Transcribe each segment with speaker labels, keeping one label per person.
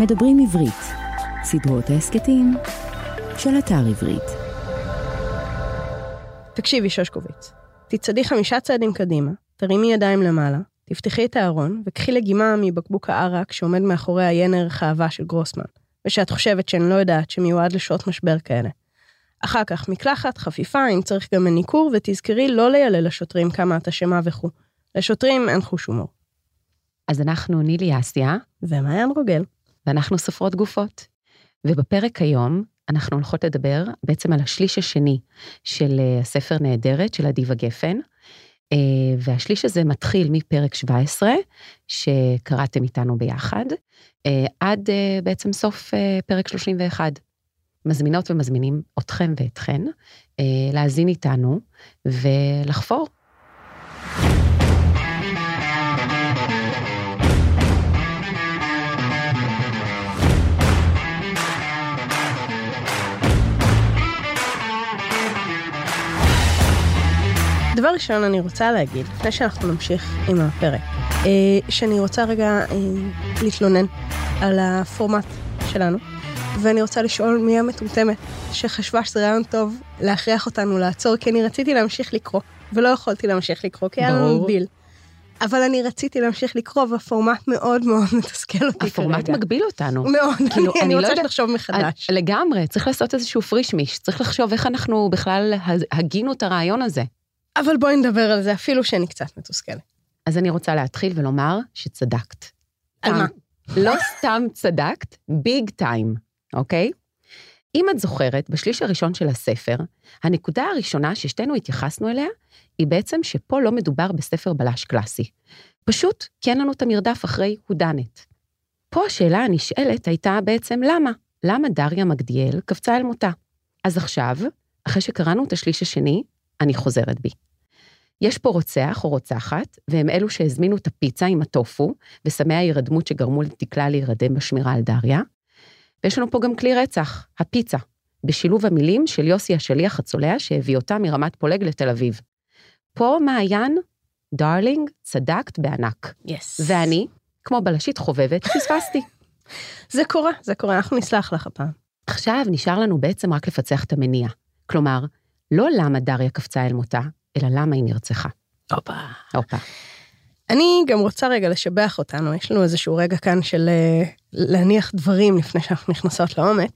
Speaker 1: מדברים עברית, סדרות ההסכתים של אתר עברית.
Speaker 2: תקשיבי, שושקוביץ, תצעדי חמישה צעדים קדימה, תרימי ידיים למעלה, תפתחי את הארון וקחי לגימה מבקבוק הערק שעומד מאחורי הינר חאווה של גרוסמן, ושאת חושבת שאני לא יודעת שמיועד לשעות משבר כאלה. אחר כך מקלחת, חפיפה, אם צריך גם מניקור, ותזכרי לא לילל לשוטרים כמה את אשמה וכו'. לשוטרים אין חוש הומור.
Speaker 1: אז אנחנו נילי אסיה,
Speaker 2: ומעיין רוגל.
Speaker 1: ואנחנו סופרות גופות. ובפרק היום אנחנו הולכות לדבר בעצם על השליש השני של אה, הספר נהדרת של אדיבה גפן, אה, והשליש הזה מתחיל מפרק 17, שקראתם איתנו ביחד, אה, עד אה, בעצם סוף אה, פרק 31. מזמינות ומזמינים אתכם ואתכן אה, להאזין איתנו ולחפור.
Speaker 2: דבר ראשון, אני רוצה להגיד, לפני שאנחנו נמשיך עם הפרק, אה, שאני רוצה רגע אה, להתלונן על הפורמט שלנו, ואני רוצה לשאול מי המטומטמת שחשבה שזה רעיון טוב להכריח אותנו לעצור, כי אני רציתי להמשיך לקרוא, ולא יכולתי להמשיך לקרוא, כי היה לנו
Speaker 1: ברור.
Speaker 2: דיל. אבל אני רציתי להמשיך לקרוא, והפורמט מאוד מאוד מתסכל אותי כרגע.
Speaker 1: הפורמט מגביל אותנו.
Speaker 2: מאוד,
Speaker 1: כאילו,
Speaker 2: אני,
Speaker 1: אני
Speaker 2: אני
Speaker 1: לא
Speaker 2: רוצה
Speaker 1: יודעת-
Speaker 2: שתחשוב מחדש.
Speaker 1: אז לגמרי, צריך לעשות איזשהו פרישמיש, צריך לחשוב איך אנחנו בכלל ה- הגינו את הרעיון הזה.
Speaker 2: אבל בואי נדבר על זה, אפילו שאני קצת מתוסכלת.
Speaker 1: אז אני רוצה להתחיל ולומר שצדקת.
Speaker 2: על מה?
Speaker 1: סתם- לא סתם צדקת, ביג טיים, אוקיי? אם את זוכרת, בשליש הראשון של הספר, הנקודה הראשונה ששתינו התייחסנו אליה, היא בעצם שפה לא מדובר בספר בלש קלאסי. פשוט כי אין לנו את המרדף אחרי הודנת. פה השאלה הנשאלת הייתה בעצם למה? למה דריה מגדיאל קפצה אל מותה? אז עכשיו, אחרי שקראנו את השליש השני, אני חוזרת בי. יש פה רוצח או רוצחת, והם אלו שהזמינו את הפיצה עם הטופו, וסמי ההירדמות שגרמו לדקלה להירדם בשמירה על דריה. ויש לנו פה גם כלי רצח, הפיצה, בשילוב המילים של יוסי השליח הצולע שהביא אותה מרמת פולג לתל אביב. פה מעיין, דארלינג, צדקת בענק.
Speaker 2: יס.
Speaker 1: ואני, כמו בלשית חובבת, פספסתי.
Speaker 2: זה קורה, זה קורה, אנחנו נסלח לך הפעם.
Speaker 1: עכשיו נשאר לנו בעצם רק לפצח את המניע. כלומר, לא למה דריה קפצה אל מותה, אלא למה היא נרצחה.
Speaker 2: הופה.
Speaker 1: הופה.
Speaker 2: אני גם רוצה רגע לשבח אותנו, יש לנו איזשהו רגע כאן של אה, להניח דברים לפני שאנחנו נכנסות לעומק,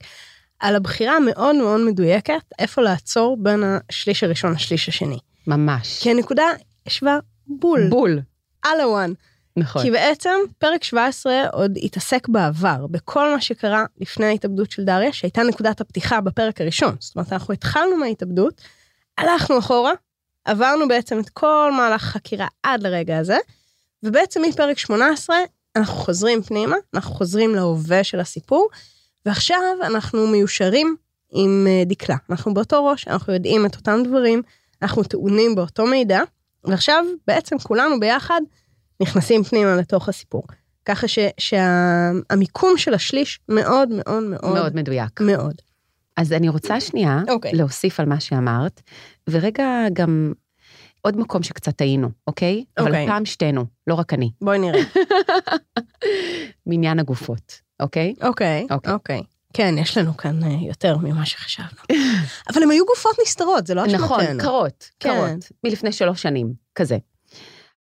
Speaker 2: על הבחירה המאוד מאוד מדויקת איפה לעצור בין השליש הראשון לשליש השני.
Speaker 1: ממש.
Speaker 2: כי הנקודה ישבה כן, בול,
Speaker 1: בול.
Speaker 2: על הוואן.
Speaker 1: נכון.
Speaker 2: כי בעצם פרק 17 עוד התעסק בעבר, בכל מה שקרה לפני ההתאבדות של דריה, שהייתה נקודת הפתיחה בפרק הראשון. זאת אומרת, אנחנו התחלנו מההתאבדות, הלכנו אחורה, עברנו בעצם את כל מהלך החקירה עד לרגע הזה, ובעצם מפרק 18 אנחנו חוזרים פנימה, אנחנו חוזרים להווה של הסיפור, ועכשיו אנחנו מיושרים עם אה, דקלה. אנחנו באותו ראש, אנחנו יודעים את אותם דברים, אנחנו טעונים באותו מידע, ועכשיו בעצם כולנו ביחד נכנסים פנימה לתוך הסיפור. ככה שהמיקום של השליש מאוד מאוד מאוד
Speaker 1: מאוד לא. מדויק.
Speaker 2: מאוד.
Speaker 1: אז אני רוצה שנייה
Speaker 2: אוקיי.
Speaker 1: להוסיף על מה שאמרת, ורגע גם עוד מקום שקצת טעינו, אוקיי? אבל
Speaker 2: אוקיי.
Speaker 1: הפעם שתינו, לא רק אני,
Speaker 2: בואי נראה.
Speaker 1: מניין הגופות, אוקיי?
Speaker 2: אוקיי,
Speaker 1: אוקיי.
Speaker 2: אוקיי. כן, יש לנו כאן אה, יותר ממה שחשבנו. אבל הם היו גופות נסתרות, זה לא אשמתנו.
Speaker 1: נכון, קרות,
Speaker 2: כן.
Speaker 1: קרות, מלפני שלוש שנים, כזה.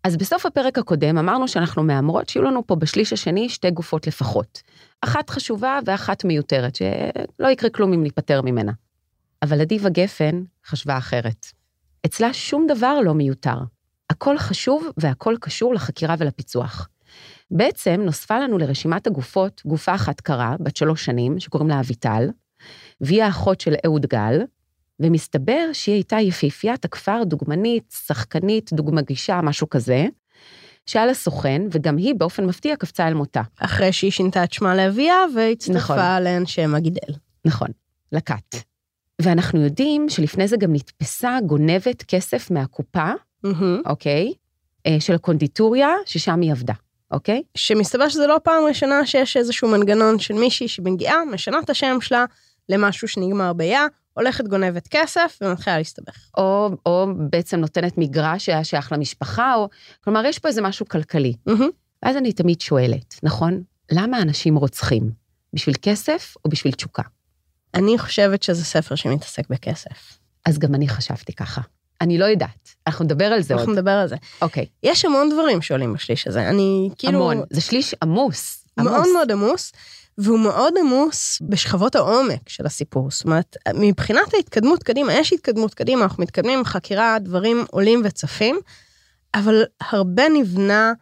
Speaker 1: אז בסוף הפרק הקודם אמרנו שאנחנו מהמרות שיהיו לנו פה בשליש השני שתי גופות לפחות. אחת חשובה ואחת מיותרת, שלא יקרה כלום אם ניפטר ממנה. אבל אדיבה גפן חשבה אחרת. אצלה שום דבר לא מיותר. הכל חשוב והכל קשור לחקירה ולפיצוח. בעצם נוספה לנו לרשימת הגופות גופה אחת קרה, בת שלוש שנים, שקוראים לה אביטל, והיא האחות של אהוד גל, ומסתבר שהיא הייתה יפיפיית הכפר, דוגמנית, שחקנית, דוגמגישה, משהו כזה, שהיה לה סוכן, וגם היא באופן מפתיע קפצה אל מותה.
Speaker 2: אחרי שהיא שינתה את שמה לאביה
Speaker 1: נכון.
Speaker 2: והצטרפה לאנשי מגידל.
Speaker 1: נכון, לקט. ואנחנו יודעים שלפני זה גם נתפסה גונבת כסף מהקופה,
Speaker 2: מהמם.
Speaker 1: אוקיי? אה, של הקונדיטוריה, ששם היא עבדה, אוקיי?
Speaker 2: שמסתבר שזו לא פעם ראשונה שיש איזשהו מנגנון של מישהי שמגיעה, משנה את השם שלה למשהו שנגמר ביה, הולכת גונבת כסף ומתחילה להסתבך.
Speaker 1: או, או בעצם נותנת מגרש שהיה שייך למשפחה, או... כלומר, יש פה איזה משהו כלכלי.
Speaker 2: מהמם.
Speaker 1: ואז אני תמיד שואלת, נכון? למה אנשים רוצחים? בשביל כסף או בשביל תשוקה.
Speaker 2: אני חושבת שזה ספר שמתעסק בכסף.
Speaker 1: אז גם אני חשבתי ככה. אני לא יודעת, אנחנו נדבר על זה עוד.
Speaker 2: אנחנו נדבר על זה.
Speaker 1: אוקיי,
Speaker 2: יש המון דברים שעולים בשליש הזה. אני כאילו...
Speaker 1: המון. זה שליש עמוס. עמוס.
Speaker 2: מאוד מאוד עמוס, והוא מאוד עמוס בשכבות העומק של הסיפור. זאת אומרת, מבחינת ההתקדמות קדימה, יש התקדמות קדימה, אנחנו מתקדמים עם חקירה, דברים עולים וצפים, אבל הרבה נבנה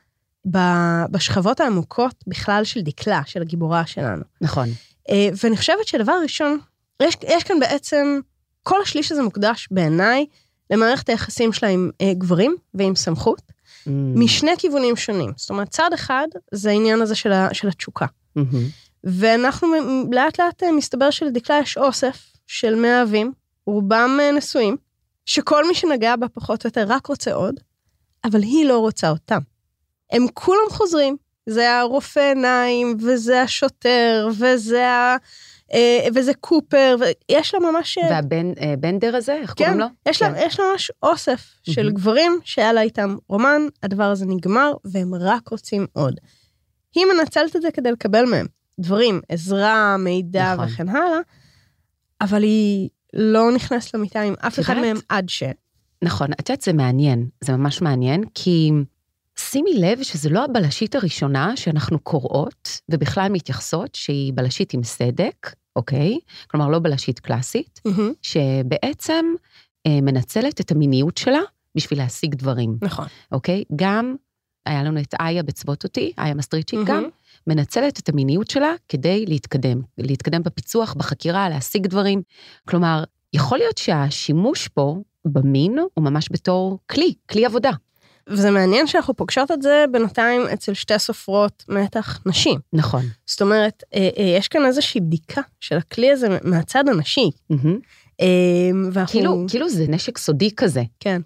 Speaker 2: ב- בשכבות העמוקות בכלל של דקלה, של הגיבורה שלנו.
Speaker 1: נכון.
Speaker 2: אה, ואני חושבת שדבר ראשון, יש, יש כאן בעצם, כל השליש הזה מוקדש בעיניי למערכת היחסים שלה עם אה, גברים ועם סמכות,
Speaker 1: Mm.
Speaker 2: משני כיוונים שונים. זאת אומרת, צד אחד זה העניין הזה של, ה, של התשוקה.
Speaker 1: מהמם.
Speaker 2: ואנחנו מ- לאט לאט אה, מסתבר שלדקלה יש אוסף של מאהבים, רובם אה, נשואים, שכל מי שנגע בה פחות או יותר רק רוצה עוד, אבל היא לא רוצה אותם. הם כולם חוזרים, זה הרופא עיניים, וזה השוטר, וזה, ה... אה, וזה קופר, ויש לה ממש... אה,
Speaker 1: והבן אה, בנדר הזה, איך
Speaker 2: כן,
Speaker 1: קוראים לו?
Speaker 2: יש, לה,
Speaker 1: כן.
Speaker 2: יש לה ממש אוסף של
Speaker 1: מהמם.
Speaker 2: גברים שהיה לה איתם רומן, הדבר הזה נגמר, והם רק רוצים עוד. היא מנצלת את זה כדי לקבל מהם דברים, עזרה, מידע
Speaker 1: נכון.
Speaker 2: וכן הלאה, אבל היא לא נכנסת למיטה עם אף אחד
Speaker 1: יודעת?
Speaker 2: מהם עד ש...
Speaker 1: נכון, את יודעת, זה מעניין, זה ממש מעניין, כי שימי לב שזו לא הבלשית הראשונה שאנחנו קוראות ובכלל מתייחסות שהיא בלשית עם סדק, אוקיי? כלומר, לא בלשית קלאסית, שבעצם אה, מנצלת את המיניות שלה בשביל להשיג דברים,
Speaker 2: נכון.
Speaker 1: אוקיי? גם, היה לנו את איה בצוות אותי, איה מסטריצ'יק
Speaker 2: מהמם.
Speaker 1: גם, מנצלת את המיניות שלה כדי להתקדם, להתקדם בפיצוח, בחקירה, להשיג דברים. כלומר, יכול להיות שהשימוש פה במין הוא ממש בתור כלי, כלי עבודה.
Speaker 2: וזה מעניין שאנחנו פוגשות את זה בינתיים אצל שתי סופרות מתח נשים.
Speaker 1: נכון.
Speaker 2: זאת אומרת, אה, אה, יש כאן איזושהי בדיקה של הכלי הזה מהצד הנשי.
Speaker 1: מהמם.
Speaker 2: אה, ואנחנו...
Speaker 1: כאילו, כאילו זה נשק סודי כזה.
Speaker 2: כן.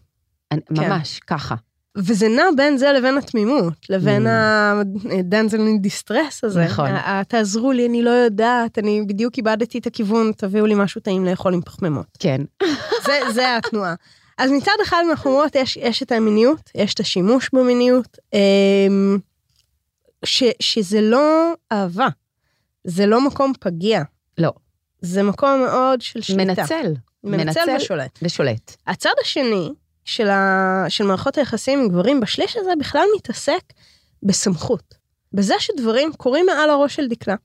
Speaker 1: אני- ממש, ככה.
Speaker 2: וזה נע בין זה לבין התמימות, לבין אה,
Speaker 1: Mm.
Speaker 2: הדנזלין דיסטרס הזה.
Speaker 1: נכון.
Speaker 2: ה- ה- תעזרו לי, אני לא יודעת, אני בדיוק איבדתי את הכיוון, תביאו לי משהו טעים לאכול עם פחמימות.
Speaker 1: כן.
Speaker 2: זה, זה התנועה. אז מצד אחד אנחנו אומרות, יש, יש את המיניות, יש את השימוש במיניות, אמ, ש, שזה לא אהבה, זה לא מקום פגיע.
Speaker 1: לא.
Speaker 2: זה מקום מאוד של שליטה.
Speaker 1: מנצל מנצל.
Speaker 2: מנצל ושולט.
Speaker 1: ושולט.
Speaker 2: הצד השני של, ה... של מערכות היחסים עם גברים בשליש הזה בכלל מתעסק בסמכות. בזה שדברים קורים מעל הראש של דקלה.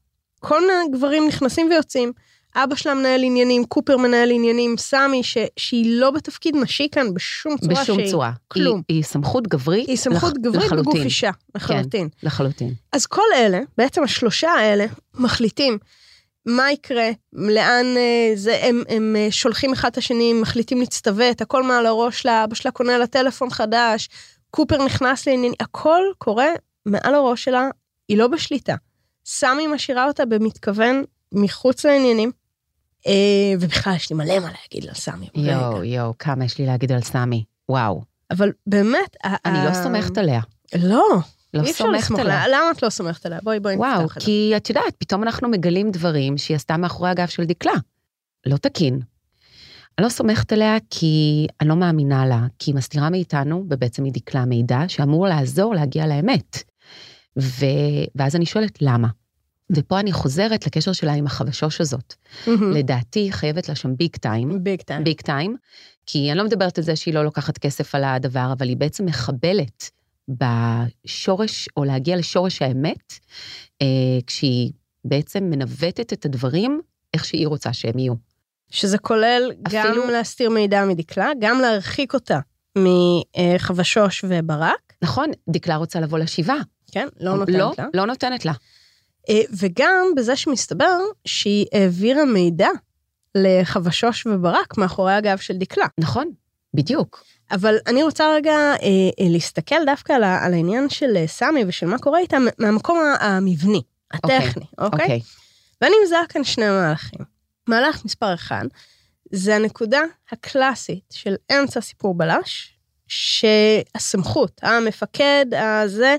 Speaker 2: כל מיני גברים נכנסים ויוצאים. אבא שלה מנהל עניינים, קופר מנהל עניינים, סמי, ש... שהיא לא בתפקיד נשי כאן בשום צורה
Speaker 1: בשום
Speaker 2: שהיא.
Speaker 1: צורה.
Speaker 2: כלום.
Speaker 1: היא, היא סמכות גברית
Speaker 2: היא סמכות
Speaker 1: לח-
Speaker 2: גברית
Speaker 1: לחלוטין. כן.
Speaker 2: בגוף אישה, לחלוטין.
Speaker 1: לחלוטין.
Speaker 2: אז כל אלה, בעצם השלושה האלה, מחליטים מה יקרה, לאן אה, זה, הם, הם אה, שולחים אחד את השני, מחליטים להצטוות, הכל מעל הראש שלה, אבא שלה קונה לה טלפון חדש, קופר נכנס לעניינים, הכל קורה מעל הראש שלה, היא לא בשליטה. סמי משאירה אותה במתכוון מחוץ לעניינים, אה, ובכלל יש לי מלא מה להגיד על סמי. ברגע.
Speaker 1: יואו, יואו, כמה יש לי להגיד על סמי. וואו.
Speaker 2: אבל באמת, ה-
Speaker 1: אני לא
Speaker 2: ה-
Speaker 1: סומכת עליה.
Speaker 2: לא,
Speaker 1: לא
Speaker 2: אמ, אי אפשר
Speaker 1: סומכת
Speaker 2: לסמוך
Speaker 1: עליה.
Speaker 2: עליה. למה את לא סומכת עליה? בואי, בואי
Speaker 1: וואו,
Speaker 2: נפתח את זה.
Speaker 1: כי את יודעת, פתאום אנחנו מגלים דברים שהיא עשתה מאחורי הגב של דקלה. לא תקין. אני לא סומכת עליה כי אני לא מאמינה לה, כי היא מסתירה מאיתנו, ובעצם היא דקלה מידע שאמור לעזור להגיע לאמת. ו... ואז אני שואלת, למה? ופה אני חוזרת לקשר שלה עם החבשוש הזאת.
Speaker 2: מהמם.
Speaker 1: לדעתי, היא חייבת לה שם ביג טיים.
Speaker 2: ביג טיים.
Speaker 1: ביג טיים, כי אני לא מדברת על זה שהיא לא לוקחת כסף על הדבר, אבל היא בעצם מחבלת בשורש, או להגיע לשורש האמת, אה, כשהיא בעצם מנווטת את הדברים איך שהיא רוצה שהם יהיו.
Speaker 2: שזה כולל אפילו...
Speaker 1: אפילו-
Speaker 2: גם להסתיר מידע מדקלה, גם להרחיק אותה מחבשוש וברק,
Speaker 1: נכון, דקלה רוצה לבוא לשבעה.
Speaker 2: כן? לא נותנת
Speaker 1: לא,
Speaker 2: לה.
Speaker 1: לא נותנת לה.
Speaker 2: אה, וגם בזה שמסתבר שהיא העבירה מידע לחבשוש וברק מאחורי הגב של דקלה.
Speaker 1: נכון, בדיוק.
Speaker 2: אבל אני רוצה רגע אה, אה, להסתכל דווקא על, ה- על העניין של אה, סמי ושל מה קורה איתה מ- מהמקום ה- המבני, הטכני, אוקיי?
Speaker 1: אוקיי.
Speaker 2: ואני מזהה כאן שני מהלכים. מהלך מספר אחד, זה הנקודה הקלאסית של אמצע סיפור בלש, שהסמכות, המפקד, הזה,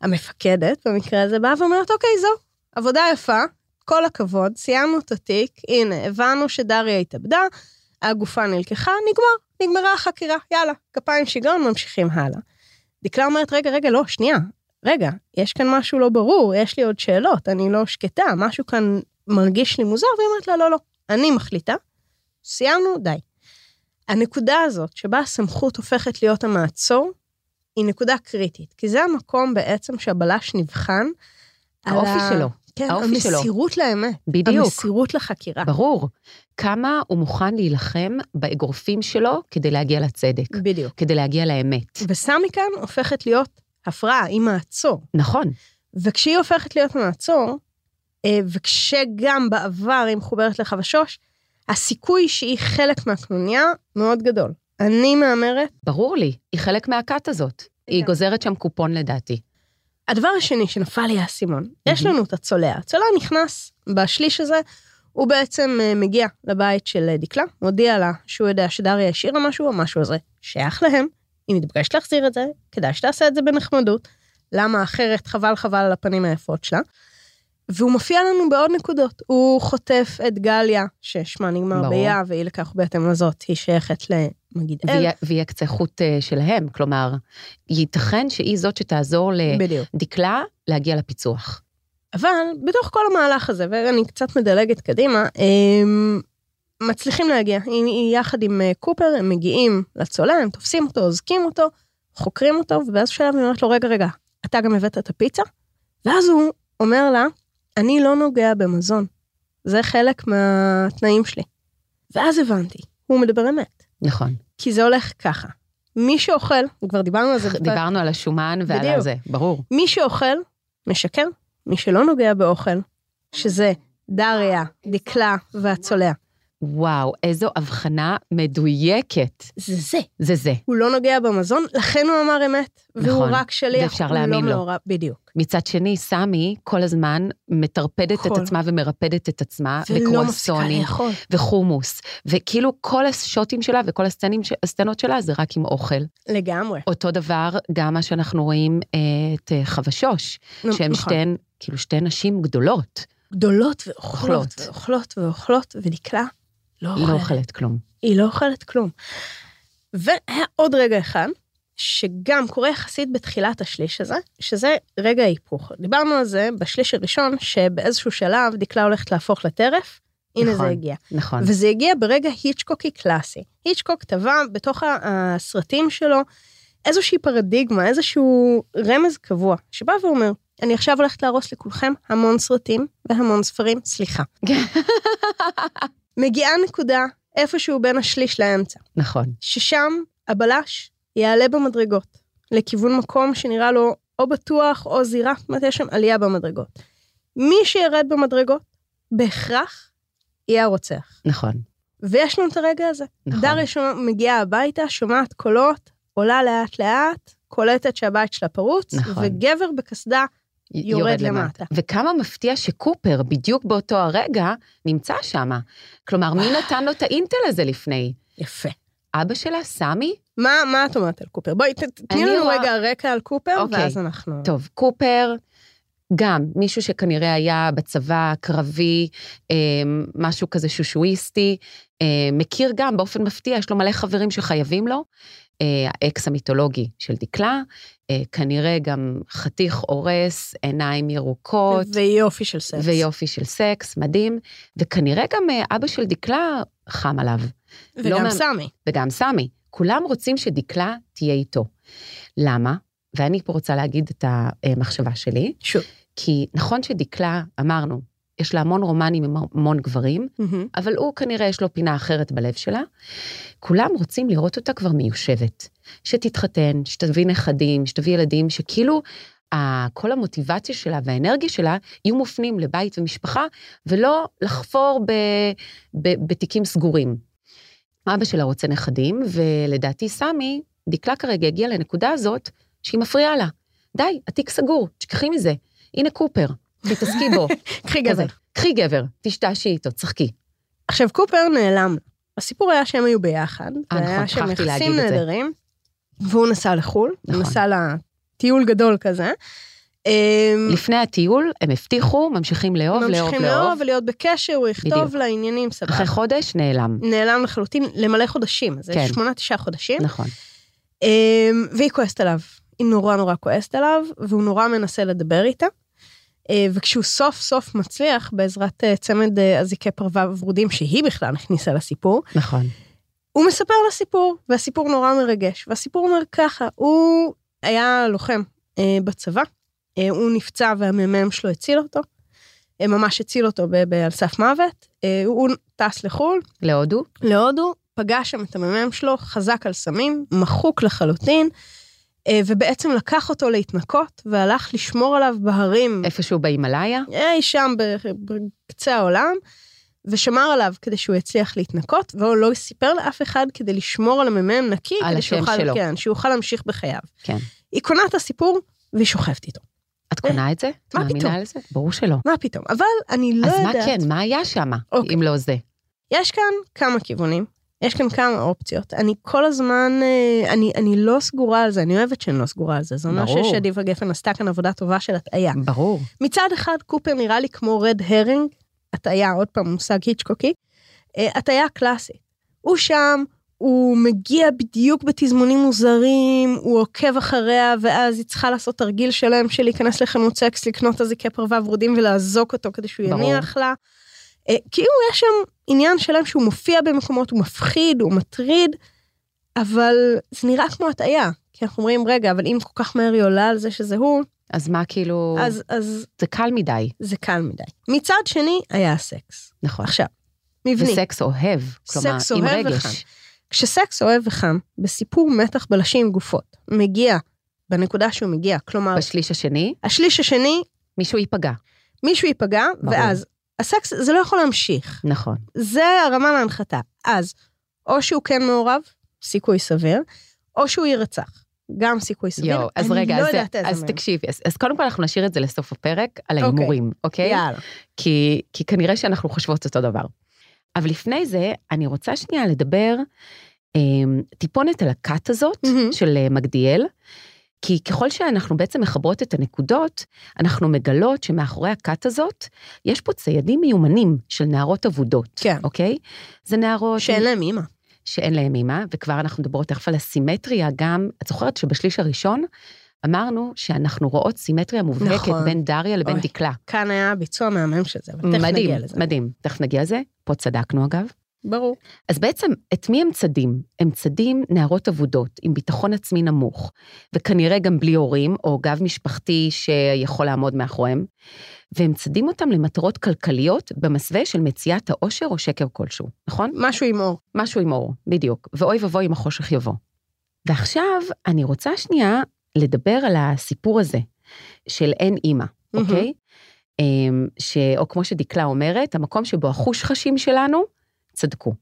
Speaker 2: המפקדת במקרה הזה, באה ואומרת, אוקיי, זו, עבודה יפה, כל הכבוד, סיימנו את התיק, הנה, הבנו שדריה התאבדה, הגופה נלקחה, נגמר, נגמרה החקירה, יאללה, כפיים שיגעון, ממשיכים הלאה. דקלה אומרת, רגע, רגע, לא, שנייה, רגע, יש כאן משהו לא ברור, יש לי עוד שאלות, אני לא שקטה, משהו כאן מרגיש לי מוזר, והיא אומרת לה, לא, לא, אני מחליטה, סיימנו, די. הנקודה הזאת שבה הסמכות הופכת להיות המעצור, היא נקודה קריטית, כי זה המקום בעצם שהבלש נבחן. על
Speaker 1: האופי
Speaker 2: ה-
Speaker 1: שלו,
Speaker 2: כן,
Speaker 1: האופי שלו.
Speaker 2: המסירות לאמת.
Speaker 1: בדיוק.
Speaker 2: המסירות לחקירה.
Speaker 1: ברור. כמה הוא מוכן להילחם באגרופים שלו כדי להגיע לצדק,
Speaker 2: בדיוק.
Speaker 1: כדי להגיע לאמת.
Speaker 2: וסמי כאן הופכת להיות הפרעה, היא מעצור.
Speaker 1: נכון,
Speaker 2: וכשהיא הופכת להיות מעצור, אה, וכשגם בעבר היא מחוברת לחבשוש, הסיכוי שהיא חלק מהקנוניה מאוד גדול. אני מהמרת.
Speaker 1: ברור לי, היא חלק מהכת הזאת. היא
Speaker 2: לגמרי.
Speaker 1: גוזרת שם קופון לדעתי.
Speaker 2: הדבר השני שנפל לי האסימון, יש לנו את הצולע. הצולע נכנס בשליש הזה, הוא בעצם אה, מגיע לבית של אה, דקלה, מודיע לה שהוא יודע שדריה השאירה משהו, המשהו הזה שייך להם, היא מתבקשת להחזיר את זה, כדאי שתעשה את זה בנחמדות, למה אחרת חבל חבל על הפנים היפות שלה. והוא מופיע לנו בעוד נקודות. הוא חוטף את גליה, ששמה נגמר
Speaker 1: ברור.
Speaker 2: ביה, והיא לכך בהתאם לזאת, היא שייכת למגיד אל.
Speaker 1: והיא- והיא הקצה חוט אה, שלהם, כלומר, ייתכן שהיא זאת שתעזור
Speaker 2: בדיוק.
Speaker 1: לדקלה להגיע לפיצוח.
Speaker 2: אבל בתוך כל המהלך הזה, ואני קצת מדלגת קדימה, הם מצליחים להגיע. היא- היא יחד עם אה, קופר, הם מגיעים לצולע, הם תופסים אותו, אוזקים אותו, חוקרים אותו, ובאיזשהו שלב היא אומרת לו, רגע, רגע, אתה גם הבאת את הפיצה? ואז הוא אומר לה, אני לא נוגע במזון, זה חלק מהתנאים שלי. ואז הבנתי, הוא מדבר אמת,
Speaker 1: נכון.
Speaker 2: כי זה הולך ככה. מי שאוכל, כבר דיברנו על זה, בפרק
Speaker 1: דיברנו על השומן ועל
Speaker 2: בדיוק.
Speaker 1: הזה, ברור.
Speaker 2: מי שאוכל, משקר. מי שלא נוגע באוכל, שזה דריה, דקלה והצולע.
Speaker 1: וואו, איזו הבחנה מדויקת.
Speaker 2: זה זה.
Speaker 1: זה זה.
Speaker 2: הוא לא נוגע במזון, לכן הוא אמר אמת. והוא
Speaker 1: נכון,
Speaker 2: רק שליח,
Speaker 1: ואפשר
Speaker 2: הוא לא
Speaker 1: להאמין לו.
Speaker 2: מעורב. בדיוק.
Speaker 1: מצד שני, סמי כל הזמן מטרפדת
Speaker 2: כל.
Speaker 1: את עצמה ומרפדת את עצמה,
Speaker 2: נכון. ולא מפסיקה
Speaker 1: וקרואסונים,
Speaker 2: לאכול.
Speaker 1: וחומוס, וכאילו כל השוטים שלה וכל הסצנים ש- הסצנות שלה זה רק עם אוכל.
Speaker 2: לגמרי.
Speaker 1: אותו דבר גם מה שאנחנו רואים אה, את אה, חבשוש,
Speaker 2: נו,
Speaker 1: שהן
Speaker 2: נכון.
Speaker 1: שתיהן, כאילו שתי נשים גדולות,
Speaker 2: גדולות ואוכלות,
Speaker 1: אוכלות.
Speaker 2: ואוכלות ואוכלות, ודקלה לא
Speaker 1: לא
Speaker 2: אוכלת.
Speaker 1: אוכלת כלום.
Speaker 2: היא לא אוכלת כלום. והיה עוד רגע אחד, שגם קורה יחסית בתחילת השליש הזה, שזה רגע ההיפוך. דיברנו על זה בשליש הראשון, שבאיזשהו שלב דקלה הולכת להפוך לטרף, הנה
Speaker 1: נכון.
Speaker 2: זה הגיע.
Speaker 1: נכון,
Speaker 2: וזה הגיע ברגע היצ'קוקי קלאסי. היצ'קוק טבע בתוך ה- הסרטים שלו איזושהי פרדיגמה, איזשהו רמז קבוע, שבא ואומר, אני עכשיו הולכת להרוס לכולכם המון סרטים והמון ספרים, סליחה. מגיעה נקודה איפשהו בין השליש לאמצע,
Speaker 1: נכון.
Speaker 2: ששם הבלש יעלה במדרגות, לכיוון מקום שנראה לו או בטוח או זירה, זאת אומרת, יש שם עלייה במדרגות. מי שירד במדרגות, בהכרח יהיה הרוצח.
Speaker 1: נכון,
Speaker 2: ויש לנו את הרגע הזה.
Speaker 1: נכון.
Speaker 2: דריה שומע, מגיעה הביתה, שומעת קולות, עולה לאט-לאט, קולטת שהבית שלה פרוץ,
Speaker 1: נכון.
Speaker 2: וגבר בקסדה,
Speaker 1: י-
Speaker 2: יורד למטה.
Speaker 1: וכמה מפתיע שקופר, בדיוק באותו הרגע, נמצא שם. כלומר, מי נתן לו את האינטל הזה לפני?
Speaker 2: יפה.
Speaker 1: אבא שלה, סמי?
Speaker 2: מה, מה את אומרת על קופר? בואי, ת- ת- תני
Speaker 1: אני
Speaker 2: לנו
Speaker 1: רואה-
Speaker 2: רגע רקע על קופר,
Speaker 1: אוקיי.
Speaker 2: ואז אנחנו...
Speaker 1: טוב, קופר, גם מישהו שכנראה היה בצבא קרבי, אה, משהו כזה שושואיסטי, אה, מכיר גם באופן מפתיע, יש לו מלא חברים שחייבים לו, אה, האקס המיתולוגי של דקלה, אה, כנראה גם חתיך הורס, עיניים ירוקות.
Speaker 2: ויופי של סקס.
Speaker 1: ויופי של סקס, מדהים, וכנראה גם אה, אבא של דקלה חם עליו. לא
Speaker 2: וגם
Speaker 1: מה-
Speaker 2: סמי.
Speaker 1: וגם סמי. כולם רוצים שדקלה תהיה איתו. למה? ואני פה רוצה להגיד את המחשבה שלי,
Speaker 2: שוב.
Speaker 1: כי נכון שדקלה, אמרנו, יש לה המון רומנים עם המון גברים,
Speaker 2: מהמם.
Speaker 1: אבל הוא כנראה יש לו פינה אחרת בלב שלה. כולם רוצים לראות אותה כבר מיושבת. שתתחתן, שתביא נכדים, שתביא ילדים, שכאילו ה- כל המוטיבציה שלה והאנרגיה שלה יהיו מופנים לבית ומשפחה, ולא לחפור ב, ב, בתיקים סגורים. אבא שלה רוצה נכדים, ולדעתי סמי, דקלה כרגע הגיעה לנקודה הזאת שהיא מפריעה לה. די, התיק סגור, תשכחי מזה. הנה קופר, תתעסקי בו,
Speaker 2: קחי
Speaker 1: כזה.
Speaker 2: גבר.
Speaker 1: קחי גבר, תשתעשי איתו, צחקי.
Speaker 2: עכשיו, קופר נעלם. הסיפור היה שהם היו ביחד.
Speaker 1: אה,
Speaker 2: זה
Speaker 1: נכון,
Speaker 2: היה שהם
Speaker 1: שכחתי
Speaker 2: יחסים
Speaker 1: להגיד את זה.
Speaker 2: נהדרים. והוא נסע לחו"ל, הוא
Speaker 1: נכון.
Speaker 2: נסע לטיול גדול כזה. אמ,
Speaker 1: לפני הטיול, הם הבטיחו, ממשיכים לאהוב, לאהוב,
Speaker 2: ממשיכים
Speaker 1: לאהוב.
Speaker 2: לאהוב ולהיות בקשר, הוא יכתוב
Speaker 1: בדיוק.
Speaker 2: לה עניינים סבבה.
Speaker 1: אחרי חודש, נעלם.
Speaker 2: נעלם לחלוטין למלא חודשים, זה
Speaker 1: כן.
Speaker 2: שמונה, תשעה חודשים.
Speaker 1: נכון.
Speaker 2: אמ, והיא כועסת עליו. היא נורא נורא כועסת עליו, והוא נורא מנסה לדבר איתה. אה, וכשהוא סוף סוף מצליח, בעזרת אה, צמד אה, אזיקי פרווה ורודים שהיא בכלל הכניסה לסיפור,
Speaker 1: נכון.
Speaker 2: הוא מספר לה סיפור, והסיפור נורא מרגש. והסיפור אומר ככה, הוא היה לוחם אה, בצבא, אה, הוא נפצע והמ"מ שלו הציל אותו, אה, ממש הציל אותו ב- ב- על סף מוות. אה, הוא הוא טס לחו"ל,
Speaker 1: להודו?
Speaker 2: כן. להודו, פגש שם את המ"מ שלו, חזק על סמים, מחוק לחלוטין, אה, ובעצם לקח אותו להתנקות, והלך לשמור עליו בהרים.
Speaker 1: איפשהו בהימאליה?
Speaker 2: אי שם ב- בקצה העולם, ושמר עליו כדי שהוא יצליח להתנקות, והוא לא סיפר לאף אחד כדי לשמור על המ"מ נקי,
Speaker 1: על
Speaker 2: כדי
Speaker 1: השם
Speaker 2: שיוכל,
Speaker 1: שלו.
Speaker 2: כן, שיוכל להמשיך בחייו.
Speaker 1: כן.
Speaker 2: היא קונה את הסיפור, והיא שוכבת איתו.
Speaker 1: את קונה את זה? את
Speaker 2: אה, מה
Speaker 1: מאמינה
Speaker 2: פתאום?
Speaker 1: על זה? ברור שלא.
Speaker 2: מה פתאום? אבל אני לא
Speaker 1: אז מה
Speaker 2: יודעת...
Speaker 1: כן, מה היה שם,
Speaker 2: אוקיי.
Speaker 1: אם לא זה?
Speaker 2: יש כאן כמה כיוונים, יש כאן כמה אופציות. אני כל הזמן, אה, אני, אני לא סגורה על זה, אני אוהבת שאני לא סגורה על זה. זה אומר
Speaker 1: ברור.
Speaker 2: ששדיווה גפן עשתה כאן עבודה טובה של הטעיה.
Speaker 1: ברור.
Speaker 2: מצד אחד, קופר נראה לי כמו רד הרינג, הטעיה, עוד פעם, מושג היצ'קוקי, אה, הטעיה קלאסית. הוא שם, הוא מגיע בדיוק בתזמונים מוזרים, הוא עוקב אחריה, ואז היא צריכה לעשות תרגיל שלם של להיכנס לחנות סקס, לקנות אזיקי פרווה ורודים ולאזוק אותו כדי שהוא
Speaker 1: ברור.
Speaker 2: יניח לה. אה, כאילו יש שם עניין שלם שהוא מופיע במקומות, הוא מפחיד, הוא מטריד, אבל זה נראה כמו הטעיה. כי אנחנו אומרים, רגע, אבל אם כל כך מהר היא עולה על זה שזה הוא,
Speaker 1: אז מה כאילו...
Speaker 2: אז, אז
Speaker 1: זה קל מדי,
Speaker 2: זה קל מדי. מצד שני, היה הסקס.
Speaker 1: נכון.
Speaker 2: עכשיו, מבני.
Speaker 1: וסקס אוהב. כלומר,
Speaker 2: סקס
Speaker 1: עם
Speaker 2: אוהב וחם.
Speaker 1: רגש. אוקיי.
Speaker 2: כשסקס אוהב וחם, בסיפור מתח בלשים גופות, מגיע בנקודה שהוא מגיע, כלומר, בש...
Speaker 1: בשליש השני,
Speaker 2: השליש השני,
Speaker 1: מישהו ייפגע.
Speaker 2: מישהו ייפגע,
Speaker 1: ברור.
Speaker 2: ואז הסקס, זה לא יכול להמשיך.
Speaker 1: נכון.
Speaker 2: זה הרמה להנחתה. אז, או שהוא כן מעורב, סיכוי סביר, או שהוא יירצח, גם סיכוי סביר.
Speaker 1: יואו, אז
Speaker 2: אני
Speaker 1: רגע,
Speaker 2: לא
Speaker 1: אז,
Speaker 2: יודעת איזה
Speaker 1: אז
Speaker 2: מהם.
Speaker 1: תקשיבי, אז, אז קודם כל אנחנו נשאיר את זה לסוף הפרק, על
Speaker 2: אוקיי.
Speaker 1: ההימורים, אוקיי?
Speaker 2: יאללה.
Speaker 1: כי, כי כנראה שאנחנו חושבות אותו דבר. אבל לפני זה, אני רוצה שנייה לדבר אמ, טיפונת על הכת הזאת
Speaker 2: מהמם.
Speaker 1: של אה, מגדיאל, כי ככל שאנחנו בעצם מחברות את הנקודות, אנחנו מגלות שמאחורי הכת הזאת, יש פה ציידים מיומנים של נערות אבודות,
Speaker 2: כן.
Speaker 1: אוקיי? זה נערות...
Speaker 2: שאין להם אימא.
Speaker 1: שאין להם אימה, וכבר אנחנו מדברות תכף על הסימטריה גם, את זוכרת שבשליש הראשון אמרנו שאנחנו רואות סימטריה מובהקת
Speaker 2: נכון.
Speaker 1: נכון. בין דריה לבין
Speaker 2: אוי,
Speaker 1: אוי, דקלה.
Speaker 2: כאן היה ביצוע מהמם של זה, אבל תכף
Speaker 1: מדהים,
Speaker 2: נגיע לזה.
Speaker 1: מדהים. תכף נגיע לזה, פה צדקנו אגב.
Speaker 2: ברור.
Speaker 1: אז בעצם, את מי הם צדים? הם צדים נערות אבודות, עם ביטחון עצמי נמוך, וכנראה גם בלי הורים, או גב משפחתי שיכול לעמוד מאחוריהם, והם צדים אותם למטרות כלכליות במסווה של מציאת העושר או שקר כלשהו, נכון?
Speaker 2: משהו עם אור.
Speaker 1: משהו עם אור, בדיוק. ואוי ואבוי אם החושך יבוא. ועכשיו אני רוצה שנייה לדבר על הסיפור הזה של אין אימא, אוקיי? אמ, ש... או כמו שדקלה אומרת, המקום שבו החוש חשים שלנו, צדקו.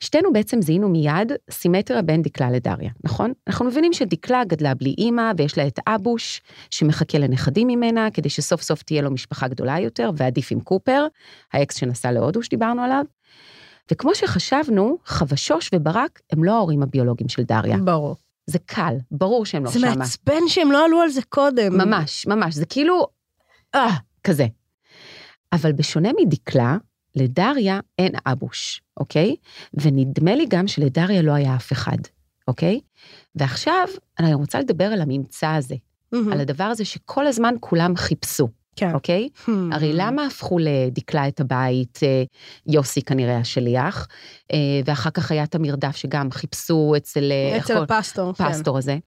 Speaker 1: שתינו בעצם זיהינו מיד סימטריה בין דקלה לדריה, נכון? אנחנו מבינים שדקלה גדלה בלי אימא ויש לה את אבוש, שמחכה לנכדים ממנה, כדי שסוף סוף תהיה לו משפחה גדולה יותר, ועדיף עם קופר, האקס שנסע להודו שדיברנו עליו. וכמו שחשבנו, חבשוש וברק הם לא ההורים הביולוגיים של דריה.
Speaker 2: ברור.
Speaker 1: זה קל, ברור שהם לא
Speaker 2: Mm. זה
Speaker 1: שמה.
Speaker 2: מעצבן שהם לא עלו על זה קודם.
Speaker 1: ממש, ממש, זה כאילו, אה, כזה. אבל בשונה מדקלה, לדריה אין אבוש, אוקיי? ונדמה לי גם שלדריה לא היה אף אחד, אוקיי? ועכשיו אני רוצה לדבר על הממצא הזה,
Speaker 2: מהמם.
Speaker 1: על הדבר הזה שכל הזמן כולם חיפשו,
Speaker 2: כן.
Speaker 1: אוקיי? הרי למה הפכו לדקלה את הבית, אה, יוסי כנראה השליח, אה, ואחר כך היה את המרדף שגם חיפשו אצל... אה, איך
Speaker 2: אצל
Speaker 1: קוראים-
Speaker 2: הפסטור. כן.
Speaker 1: הפסטור הזה.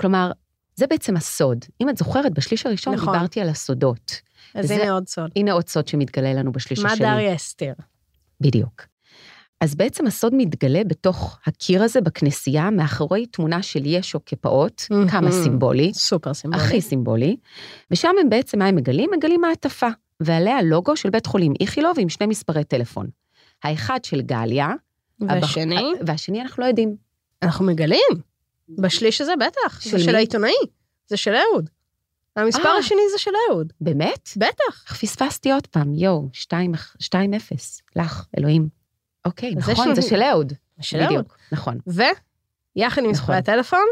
Speaker 1: כלומר, זה בעצם הסוד. אם את זוכרת, בשליש הראשון
Speaker 2: נכון.
Speaker 1: נכון. דיברתי על הסודות.
Speaker 2: אז
Speaker 1: זה-
Speaker 2: הנה עוד סוד.
Speaker 1: הנה עוד סוד שמתגלה לנו בשליש
Speaker 2: מה
Speaker 1: השני.
Speaker 2: דריה הסתיר?
Speaker 1: בדיוק. אז בעצם הסוד מתגלה בתוך הקיר הזה בכנסייה, מאחורי תמונה של ישו כפעוט,
Speaker 2: מהמם.
Speaker 1: כמה סימבולי,
Speaker 2: סופר סימבולי.
Speaker 1: הכי סימבולי, ושם הם בעצם, מה הם מגלים? מגלים מעטפה, ועליה לוגו של בית חולים איכילוב עם שני מספרי טלפון. האחד של גליה, הבח-
Speaker 2: והשני?
Speaker 1: והשני אנחנו לא יודעים.
Speaker 2: אנחנו מגלים. בשליש הזה בטח.
Speaker 1: של
Speaker 2: זה
Speaker 1: מי?
Speaker 2: של העיתונאי. זה של אהוד. המספר
Speaker 1: אה.
Speaker 2: השני זה של אהוד.
Speaker 1: באמת?
Speaker 2: בטח.
Speaker 1: איך פספסתי עוד פעם, יואו, 2-0, לך, אלוהים. אוקיי,
Speaker 2: אז
Speaker 1: נכון,
Speaker 2: יש-
Speaker 1: זה של אהוד.
Speaker 2: זה של אהוד.
Speaker 1: בדיוק, נכון.
Speaker 2: ויחד עם מספרי
Speaker 1: נכון.
Speaker 2: הטלפון,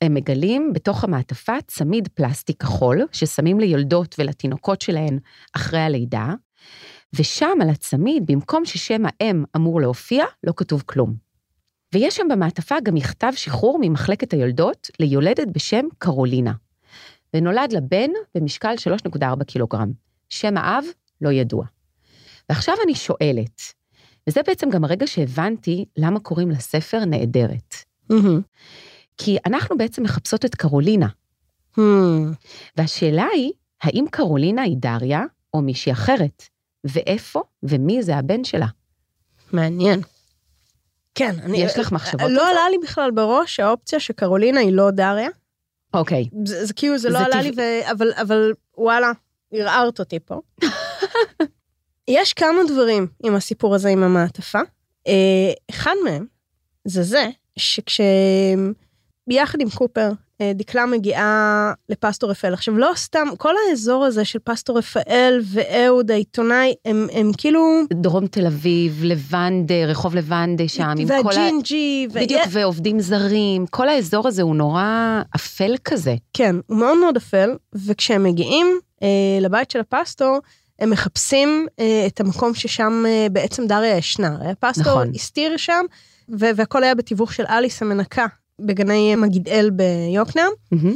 Speaker 1: הם מגלים בתוך המעטפה צמיד פלסטיק כחול, ששמים ליולדות ולתינוקות שלהן אחרי הלידה, ושם על הצמיד, במקום ששם האם אמור להופיע, לא כתוב כלום. ויש שם במעטפה גם מכתב שחרור ממחלקת היולדות ליולדת בשם קרולינה. ונולד לה בן במשקל 3.4 קילוגרם. שם האב לא ידוע. ועכשיו אני שואלת, וזה בעצם גם הרגע שהבנתי למה קוראים לספר נעדרת.
Speaker 2: מהמם.
Speaker 1: כי אנחנו בעצם מחפשות את קרולינה,
Speaker 2: מהמם.
Speaker 1: והשאלה היא, האם קרולינה היא דריה או מישהי אחרת? ואיפה ומי זה הבן שלה?
Speaker 2: מעניין. כן, אני...
Speaker 1: יש לך מחשבות?
Speaker 2: לא עלה לי בכלל בראש האופציה שקרולינה היא לא דריה.
Speaker 1: אוקיי,
Speaker 2: זה, זה כאילו, זה לא
Speaker 1: זה
Speaker 2: עלה לי, ו... אבל, אבל וואלה, ערערת אותי פה. יש כמה דברים עם הסיפור הזה עם המעטפה. אה, אחד מהם זה זה שכשביחד עם קופר, אה, דקלה מגיעה לפסטור רפאל. עכשיו, לא סתם, כל האזור הזה של פסטור רפאל ואהוד העיתונאי, הם, הם כאילו...
Speaker 1: דרום תל אביב, לבנדה, רחוב לבנדה שם, עם כל ה...
Speaker 2: והג'ינג'י, וה-
Speaker 1: בדיוק, ועובדים זרים, כל האזור הזה הוא נורא אפל כזה.
Speaker 2: כן, הוא מאוד מאוד אפל, וכשהם מגיעים אה, לבית של הפסטור, הם מחפשים אה, את המקום ששם אה, בעצם דריה ישנה. הרי הפסטור נכון.
Speaker 1: נכון.
Speaker 2: הסתיר שם, ו- והכל היה בתיווך של אליס המנקה בגני מגידאל ביוקנעם,
Speaker 1: מהמם.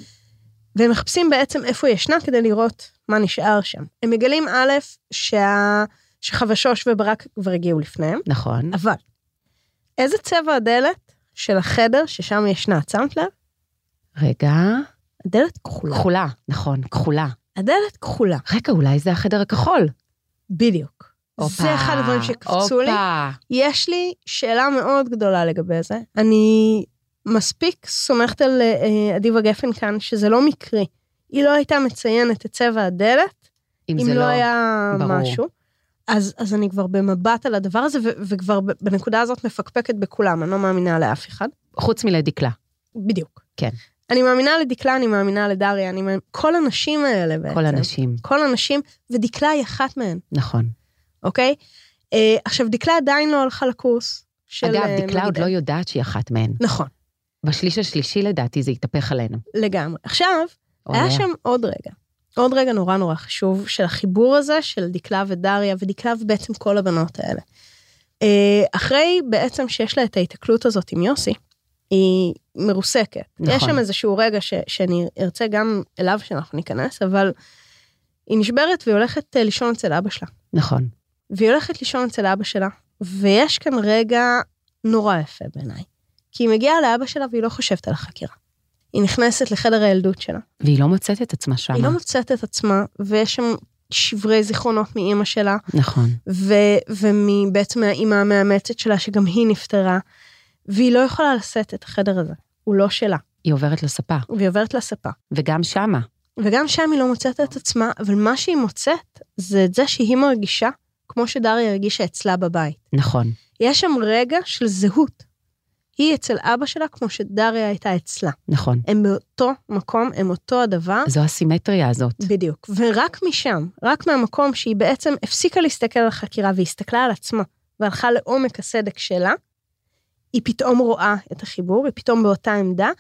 Speaker 2: והם מחפשים בעצם איפה היא ישנה כדי לראות מה נשאר שם. הם מגלים א', שה... שחבשוש וברק כבר הגיעו לפניהם,
Speaker 1: נכון.
Speaker 2: אבל איזה צבע הדלת של החדר ששם היא ישנה, את שמת לב?
Speaker 1: רגע,
Speaker 2: הדלת כחולה.
Speaker 1: כחולה, נכון, כחולה.
Speaker 2: הדלת כחולה.
Speaker 1: רגע, אולי זה החדר הכחול.
Speaker 2: בדיוק.
Speaker 1: הופה,
Speaker 2: זה אחד הדברים שקפצו לי.
Speaker 1: הופה.
Speaker 2: יש לי שאלה מאוד גדולה לגבי זה. אני מספיק סומכת על אה, אדיבה גפן כאן, שזה לא מקרי. היא לא הייתה מציינת את צבע הדלת,
Speaker 1: אם
Speaker 2: אם
Speaker 1: זה
Speaker 2: לא היה
Speaker 1: ברור.
Speaker 2: משהו. אז, אז אני כבר במבט על הדבר הזה, ו- וכבר ב- בנקודה הזאת מפקפקת בכולם, אני לא מאמינה לאף אחד.
Speaker 1: חוץ מלדקלה.
Speaker 2: אה, בדיוק.
Speaker 1: כן.
Speaker 2: אני מאמינה לדקלה, אני מאמינה לדריה, אני מאמינה... כל הנשים האלה בעצם.
Speaker 1: כל הנשים,
Speaker 2: כל הנשים, ודקלה היא אחת מהן.
Speaker 1: נכון.
Speaker 2: אוקיי? אה, עכשיו, דקלה עדיין לא הלכה לקורס של...
Speaker 1: אגב,
Speaker 2: אה,
Speaker 1: דקלה עוד
Speaker 2: מגידל.
Speaker 1: לא יודעת שהיא אחת מהן.
Speaker 2: נכון,
Speaker 1: בשליש השלישי לדעתי זה יתהפך עלינו.
Speaker 2: לגמרי. עכשיו,
Speaker 1: או
Speaker 2: היה
Speaker 1: עליה.
Speaker 2: אה, שם עוד רגע. עוד רגע נורא נורא חשוב של החיבור הזה של דקלה ודריה, ודקלה ובעצם כל הבנות האלה. אה, אחרי בעצם שיש לה את ההיתקלות הזאת עם יוסי, היא מרוסקת. נכון.
Speaker 1: נכון.
Speaker 2: יש שם איזשהו רגע ש, שאני ארצה גם אליו שאנחנו ניכנס, אבל היא נשברת והיא הולכת אה, לישון אצל אבא שלה.
Speaker 1: נכון.
Speaker 2: והיא הולכת לישון אצל אבא שלה, ויש כאן רגע נורא יפה בעיניי. כי היא מגיעה לאבא שלה והיא לא חושבת על החקירה. היא נכנסת לחדר הילדות שלה,
Speaker 1: והיא לא מוצאת את עצמה שמה.
Speaker 2: היא לא מוצאת את עצמה, ויש שם שברי זיכרונות מאימא שלה,
Speaker 1: נכון.
Speaker 2: ו- ובעצם מהאימא המאמצת שלה, שגם היא נפטרה, והיא לא יכולה לשאת את החדר הזה, הוא לא שלה,
Speaker 1: היא עוברת לספה,
Speaker 2: והיא עוברת לספה.
Speaker 1: וגם שמה.
Speaker 2: וגם שם היא לא מוצאת את עצמה, אבל מה שהיא מוצאת זה את זה שהיא מרגישה כמו שדריה הרגישה אצלה בבית.
Speaker 1: נכון.
Speaker 2: יש שם רגע של זהות. היא אצל אבא שלה כמו שדריה הייתה אצלה.
Speaker 1: נכון.
Speaker 2: הם באותו מקום, הם אותו הדבר.
Speaker 1: זו הסימטריה הזאת.
Speaker 2: בדיוק. ורק משם, רק מהמקום שהיא בעצם הפסיקה להסתכל על החקירה והסתכלה על עצמה והלכה לעומק הסדק שלה, היא פתאום רואה את החיבור, היא פתאום באותה עמדה,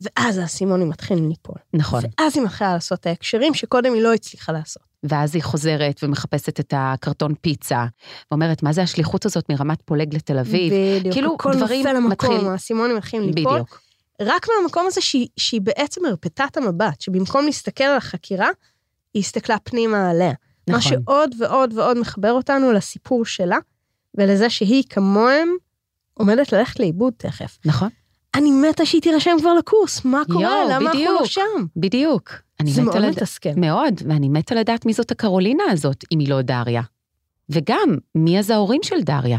Speaker 2: ואז האסימונים מתחילים ליפול.
Speaker 1: נכון.
Speaker 2: ואז היא מתחילה לעשות את ההקשרים שקודם היא לא הצליחה לעשות.
Speaker 1: ואז היא חוזרת ומחפשת את הקרטון פיצה, ואומרת, מה זה השליחות הזאת מרמת פולג לתל אביב?
Speaker 2: בדיוק.
Speaker 1: כאילו,
Speaker 2: הכל
Speaker 1: דברים
Speaker 2: נופל למקום,
Speaker 1: מתחיל-
Speaker 2: האסימונים מתחילים ליפול.
Speaker 1: בדיוק.
Speaker 2: רק מהמקום הזה שהיא, שהיא בעצם הרפתה את המבט, שבמקום להסתכל על החקירה, היא הסתכלה פנימה עליה. נכון. מה
Speaker 1: נכון.
Speaker 2: שעוד ועוד ועוד מחבר אותנו לסיפור שלה, ולזה שהיא כמוהם עומדת ללכת לאיבוד תכף.
Speaker 1: נכון.
Speaker 2: אני מתה שהיא תירשם כבר לקורס, מה קורה?
Speaker 1: יואו,
Speaker 2: למה אנחנו לא
Speaker 1: בדיוק.
Speaker 2: שם?
Speaker 1: בדיוק. אני
Speaker 2: זה
Speaker 1: מתה
Speaker 2: מאוד
Speaker 1: לד-
Speaker 2: מתסכל.
Speaker 1: מאוד, ואני מתה לדעת מי זאת הקרולינה הזאת, אם היא לא דריה. וגם, מי אז ההורים של דריה?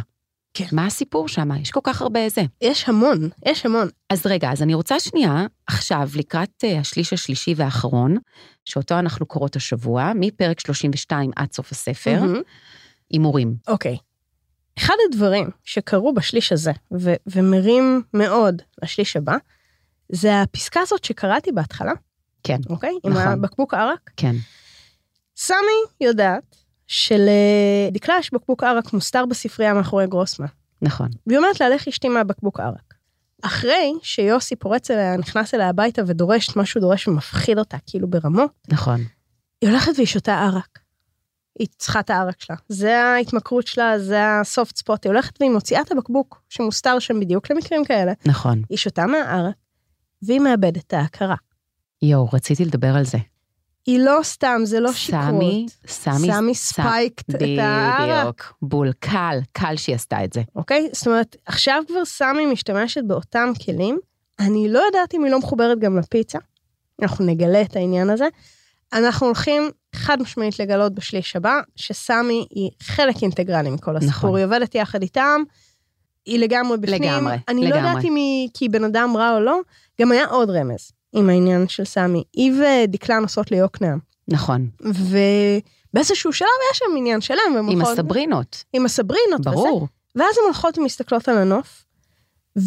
Speaker 2: כן.
Speaker 1: מה הסיפור שם? יש כל כך הרבה זה.
Speaker 2: יש המון, יש המון.
Speaker 1: אז רגע, אז אני רוצה שנייה, עכשיו, לקראת אה, השליש השלישי והאחרון, שאותו אנחנו קוראות השבוע, מפרק 32 עד סוף הספר,
Speaker 2: מהמם.
Speaker 1: הימורים.
Speaker 2: אוקיי. אחד הדברים שקרו בשליש הזה, ו- ומרים מאוד לשליש הבא, זה הפסקה הזאת שקראתי בהתחלה.
Speaker 1: כן,
Speaker 2: אוקיי? עם
Speaker 1: נכון.
Speaker 2: הבקבוק ערק.
Speaker 1: כן,
Speaker 2: סמי יודעת שלדקלה יש בקבוק ערק מוסתר בספרייה מאחורי גרוסמן,
Speaker 1: נכון.
Speaker 2: והיא אומרת לה, לך אשתי מהבקבוק ערק. אחרי שיוסי פורץ אליה, נכנס אליה הביתה ודורש את מה שהוא דורש ומפחיד אותה, כאילו ברמות,
Speaker 1: נכון,
Speaker 2: היא הולכת והיא שותה ערק. היא צריכה את הערק שלה. זה ההתמכרות שלה, זה הסופט ספוט. היא הולכת והיא מוציאה את הבקבוק שמוסתר שם בדיוק למקרים כאלה.
Speaker 1: נכון.
Speaker 2: היא שותה מהערק, והיא מאבדת את ההכרה.
Speaker 1: יואו, רציתי לדבר על זה.
Speaker 2: היא לא סתם, זה לא שיקרות.
Speaker 1: סמי, סמי,
Speaker 2: סמי
Speaker 1: ס-
Speaker 2: ספייקט את הערק,
Speaker 1: בדיוק, בול, קל, קל שהיא עשתה את זה.
Speaker 2: אוקיי? זאת אומרת, עכשיו כבר סמי משתמשת באותם כלים. אני לא יודעת אם היא לא מחוברת גם לפיצה. אנחנו נגלה את העניין הזה. אנחנו הולכים חד משמעית לגלות בשליש הבא, שסמי היא חלק אינטגרלי מכל הסיפור.
Speaker 1: נכון.
Speaker 2: היא עובדת יחד איתם, היא לגמרי בפנים.
Speaker 1: לגמרי,
Speaker 2: אני לא
Speaker 1: לגמרי.
Speaker 2: יודעת אם היא כי היא בן אדם רע או לא. גם היה עוד רמז עם העניין של סמי. היא ודקלה נוסעות ליוקנעם.
Speaker 1: נכון.
Speaker 2: ובאיזשהו שלב היה שם עניין שלם. הם
Speaker 1: עם
Speaker 2: הולכות-
Speaker 1: הסברינות,
Speaker 2: עם הסברינות. נכון. וזה.
Speaker 1: ברור.
Speaker 2: ואז הן הולכות ומסתכלות על הנוף,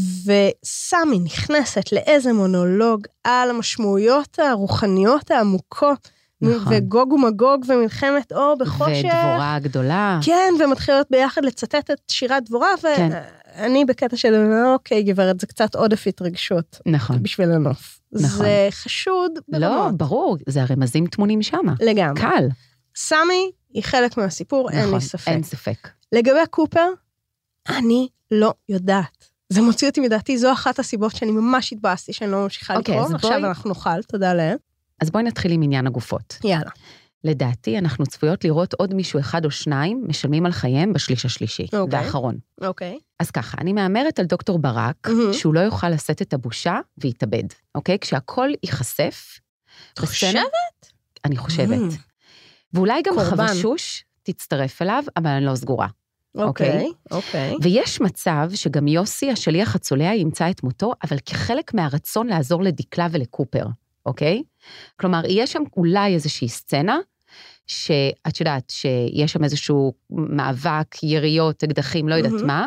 Speaker 2: וסמי נכנסת לאיזה מונולוג על המשמעויות הרוחניות העמוקות,
Speaker 1: נכון.
Speaker 2: וגוג ומגוג ומלחמת אור בחושך.
Speaker 1: ודבורה הגדולה.
Speaker 2: כן, ומתחילות ביחד לצטט את שירת דבורה,
Speaker 1: כן.
Speaker 2: ואני בקטע של אוקיי גברת, זה קצת עודף התרגשות
Speaker 1: נכון.
Speaker 2: בשביל הנוף.
Speaker 1: נכון.
Speaker 2: זה חשוד
Speaker 1: לא,
Speaker 2: ברמות.
Speaker 1: ברור, זה הרמזים טמונים שמה.
Speaker 2: לגמרי.
Speaker 1: קל.
Speaker 2: סמי היא חלק מהסיפור, אין
Speaker 1: נכון,
Speaker 2: לי ספק.
Speaker 1: אין ספק.
Speaker 2: לגבי קופר, אני לא יודעת. זה מוציא אותי מדעתי, זו אחת הסיבות שאני ממש התבאסתי שאני לא ממשיכה
Speaker 1: אוקיי,
Speaker 2: לקרוא,
Speaker 1: אז
Speaker 2: עכשיו
Speaker 1: בואי-
Speaker 2: אנחנו נאכל, תודה לאל.
Speaker 1: אז בואי נתחיל עם עניין הגופות.
Speaker 2: יאללה.
Speaker 1: לדעתי, אנחנו צפויות לראות עוד מישהו אחד או שניים משלמים על חייהם בשליש השלישי,
Speaker 2: אוקיי.
Speaker 1: והאחרון.
Speaker 2: אוקיי.
Speaker 1: אז ככה, אני מהמרת על דוקטור ברק,
Speaker 2: מהמם.
Speaker 1: שהוא לא יוכל לשאת את הבושה ויתאבד, אוקיי? כשהכל ייחשף.
Speaker 2: את
Speaker 1: בסצנה-
Speaker 2: חושבת?
Speaker 1: אני חושבת.
Speaker 2: מהמם.
Speaker 1: ואולי גם
Speaker 2: קורבן.
Speaker 1: חבשוש תצטרף אליו, אבל אני לא סגורה.
Speaker 2: אוקיי, אוקיי.
Speaker 1: ויש מצב שגם יוסי, השליח הצולע, ימצא את מותו, אבל כחלק מהרצון לעזור לדקלה ולקופר, אוקיי? כלומר, יש שם אולי איזושהי סצנה, שאת יודעת, שיש שם איזשהו מאבק, יריות, אקדחים, לא יודעת
Speaker 2: מהמם.
Speaker 1: מה,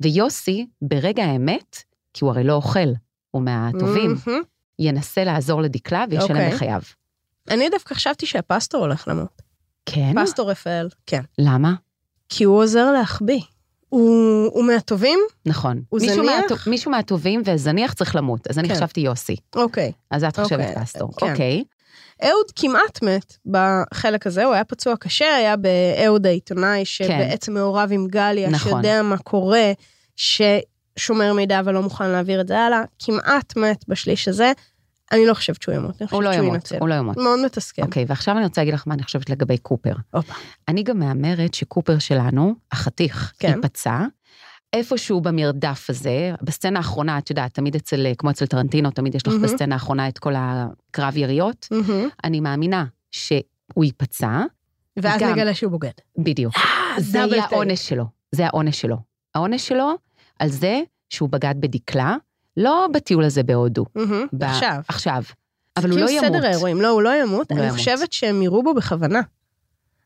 Speaker 1: ויוסי, ברגע האמת, כי הוא הרי לא אוכל, הוא מהטובים,
Speaker 2: מהמם.
Speaker 1: ינסה לעזור לדקלה וישלם
Speaker 2: Mm. אוקיי.
Speaker 1: בחייו.
Speaker 2: אני דווקא חשבתי שהפסטור הולך למות.
Speaker 1: כן?
Speaker 2: פסטור רפאל, כן.
Speaker 1: למה?
Speaker 2: כי הוא עוזר להחביא. הוא הוא מהטובים?
Speaker 1: נכון.
Speaker 2: הוא
Speaker 1: מישהו
Speaker 2: זניח?
Speaker 1: מהטו- מישהו מהטובים וזניח צריך למות, אז אני
Speaker 2: כן.
Speaker 1: חשבתי יוסי,
Speaker 2: אוקיי.
Speaker 1: אז את
Speaker 2: אוקיי,
Speaker 1: חושבת פסטור.
Speaker 2: כן.
Speaker 1: אוקיי,
Speaker 2: אהוד כמעט מת בחלק הזה, הוא היה פצוע קשה, היה באהוד העיתונאי, שבעצם מעורב עם גליה,
Speaker 1: כן. נכון.
Speaker 2: שיודע מה קורה, ששומר מידע אבל לא מוכן להעביר את זה הלאה, כמעט מת בשליש הזה. אני לא חושבת שהוא ימות, אני
Speaker 1: הוא
Speaker 2: חושבת
Speaker 1: לא
Speaker 2: שהוא
Speaker 1: ימות,
Speaker 2: ינצל.
Speaker 1: הוא לא ימות.
Speaker 2: מאוד מתסכל.
Speaker 1: אוקיי, ועכשיו אני רוצה להגיד לך מה אני חושבת לגבי קופר.
Speaker 2: הופה.
Speaker 1: אני גם מהמרת שקופר שלנו, החתיך,
Speaker 2: כן.
Speaker 1: ייפצע. איפשהו במרדף הזה, בסצנה האחרונה, את יודעת, תמיד אצל, כמו אצל טרנטינו, תמיד יש לך
Speaker 2: מהמם.
Speaker 1: בסצנה האחרונה את כל הקרב יריות.
Speaker 2: מהמם.
Speaker 1: אני מאמינה שהוא ייפצע,
Speaker 2: ואז
Speaker 1: גם.
Speaker 2: נגלה שהוא בוגד.
Speaker 1: בדיוק. זה
Speaker 2: דאבל
Speaker 1: היה
Speaker 2: טייק.
Speaker 1: העונש שלו, זה העונש שלו. העונש שלו על זה שהוא בגד בדקלה, לא בטיול הזה בהודו,
Speaker 2: מהמם.
Speaker 1: ב-
Speaker 2: עכשיו.
Speaker 1: עכשיו. אבל הוא לא
Speaker 2: כאילו סדר
Speaker 1: ימות.
Speaker 2: האירועים, לא, הוא לא ימות.
Speaker 1: הוא לא
Speaker 2: אני
Speaker 1: ימות.
Speaker 2: חושבת שהם יראו בו בכוונה.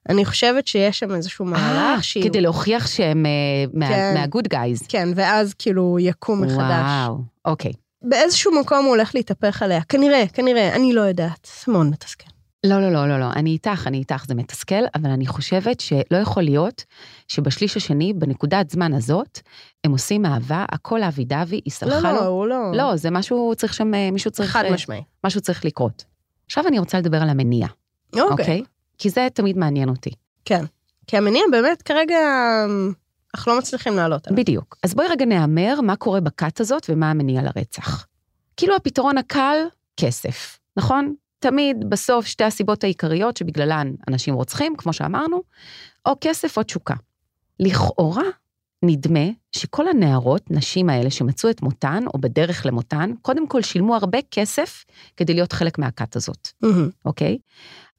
Speaker 2: אני חושבת שיש שם איזשהו
Speaker 1: אה,
Speaker 2: מהלך שהוא...
Speaker 1: כדי להוכיח שהם אה,
Speaker 2: כן.
Speaker 1: מה- מהגוד גייז.
Speaker 2: כן, ואז כאילו הוא יקום מחדש.
Speaker 1: וואו, אוקיי.
Speaker 2: באיזשהו מקום הוא הולך להתהפך עליה. כנראה, כנראה, אני לא יודעת. זה מאוד מתסכל.
Speaker 1: לא, לא, לא, לא, לא, אני איתך, אני איתך, זה מתסכל, אבל אני חושבת שלא יכול להיות שבשליש השני, בנקודת זמן הזאת, הם עושים אהבה, הכל אבי דבי, היא
Speaker 2: לא,
Speaker 1: סלחה
Speaker 2: לא,
Speaker 1: לו.
Speaker 2: הוא לא...
Speaker 1: לא, זה משהו צריך שם, אה, מישהו צריך,
Speaker 2: חד
Speaker 1: אה,
Speaker 2: משמעי.
Speaker 1: משהו צריך לקרות. עכשיו אני רוצה לדבר על המניע,
Speaker 2: אוקיי.
Speaker 1: אוקיי? כי זה תמיד מעניין אותי.
Speaker 2: כי המניע באמת כרגע, אמ, אנחנו לא מצליחים לעלות עליו.
Speaker 1: בדיוק. אז בואי רגע נאמר מה קורה בכת הזאת ומה המניע לרצח. כאילו הפתרון הקל, כסף, נכון? תמיד בסוף שתי הסיבות העיקריות שבגללן אנשים רוצחים, כמו שאמרנו, או כסף או תשוקה. לכאורה, נדמה שכל הנערות, נשים האלה שמצאו את מותן, או בדרך למותן, קודם כל שילמו הרבה כסף כדי להיות חלק מהכת הזאת,
Speaker 2: מהמם.
Speaker 1: אוקיי?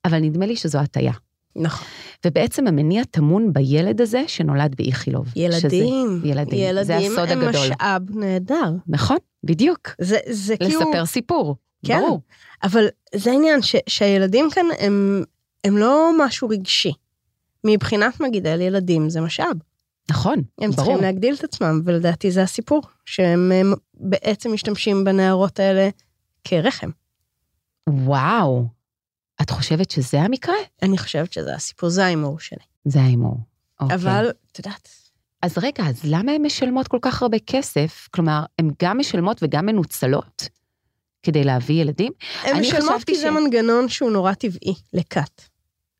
Speaker 1: אבל נדמה לי שזו הטעיה.
Speaker 2: נכון.
Speaker 1: ובעצם המניע טמון בילד הזה שנולד באיכילוב. שזה-
Speaker 2: ילדים.
Speaker 1: ילדים. זה הסוד
Speaker 2: הם
Speaker 1: הגדול.
Speaker 2: משאב נהדר.
Speaker 1: נכון, בדיוק.
Speaker 2: זה, זה כאילו...
Speaker 1: לספר סיפור,
Speaker 2: כן.
Speaker 1: ברור.
Speaker 2: אבל זה העניין ש, שהילדים כאן הם, הם לא משהו רגשי. מבחינת מגדל ילדים זה משאב.
Speaker 1: נכון,
Speaker 2: הם
Speaker 1: ברור.
Speaker 2: צריכים להגדיל את עצמם, ולדעתי זה הסיפור, שהם הם, בעצם משתמשים בנערות האלה כרחם.
Speaker 1: וואו, את חושבת שזה המקרה?
Speaker 2: אני חושבת שזה הסיפור, זה ההימור שלי.
Speaker 1: זה ההימור. אוקיי.
Speaker 2: אבל, את יודעת,
Speaker 1: אז רגע, אז למה הן משלמות כל כך הרבה כסף? כלומר, הן גם משלמות וגם מנוצלות כדי להביא ילדים?
Speaker 2: הן
Speaker 1: אני
Speaker 2: משלמות
Speaker 1: חשבתי
Speaker 2: כי זה
Speaker 1: ש-
Speaker 2: מנגנון שהוא נורא טבעי לכת. זאת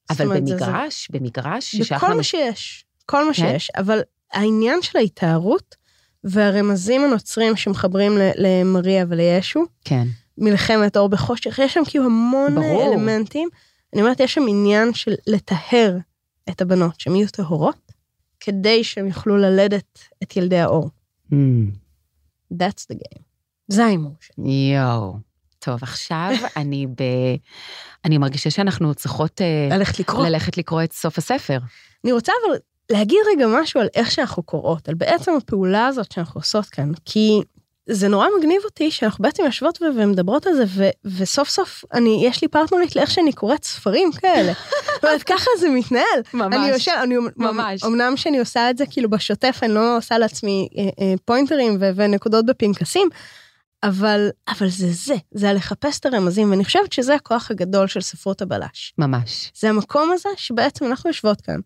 Speaker 1: אבל
Speaker 2: אומרת, זה- זה-
Speaker 1: במגרש, במגרש,
Speaker 2: בכל
Speaker 1: שאנחנו-
Speaker 2: מה שיש, כל מה
Speaker 1: כן?
Speaker 2: שיש, אבל העניין של ההיטהרות והרמזים הנוצרים שמחברים ל- למריה ולישו,
Speaker 1: כן,
Speaker 2: מלחמת אור בחושך, יש שם כאילו המון
Speaker 1: ברור.
Speaker 2: ברור. אלמנטים. אני אומרת, יש שם עניין של לטהר את הבנות, שהן יהיו טהורות, כדי שהן יוכלו ללדת את ילדי האור.
Speaker 1: Mm,
Speaker 2: That's the game. זה ההימור שלי.
Speaker 1: יואו. טוב, עכשיו אני ב... אני מרגישה שאנחנו צריכות אה,
Speaker 2: ללכת לקרוא.
Speaker 1: ללכת לקרוא את סוף הספר.
Speaker 2: אני רוצה אבל להגיד רגע משהו על איך שאנחנו קוראות, על בעצם הפעולה הזאת שאנחנו עושות כאן, כי זה נורא מגניב אותי שאנחנו בעצם יושבות ו- ומדברות על זה, ו- וסוף סוף אני, יש לי פרטנרית לאיך שאני קוראת ספרים כאלה. זאת אומרת, ככה זה מתנהל.
Speaker 1: ממש.
Speaker 2: אני יושב, אני,
Speaker 1: ממש.
Speaker 2: ממש. אמנם שאני עושה את זה כאילו בשוטף, אני לא עושה לעצמי אה, אה, פוינטרים ו- ונקודות בפנקסים, אבל, אבל זה זה, זה הלחפש את הרמזים, ואני חושבת שזה הכוח הגדול של ספרות הבלש.
Speaker 1: ממש.
Speaker 2: זה המקום הזה שבעצם אנחנו יושבות כאן,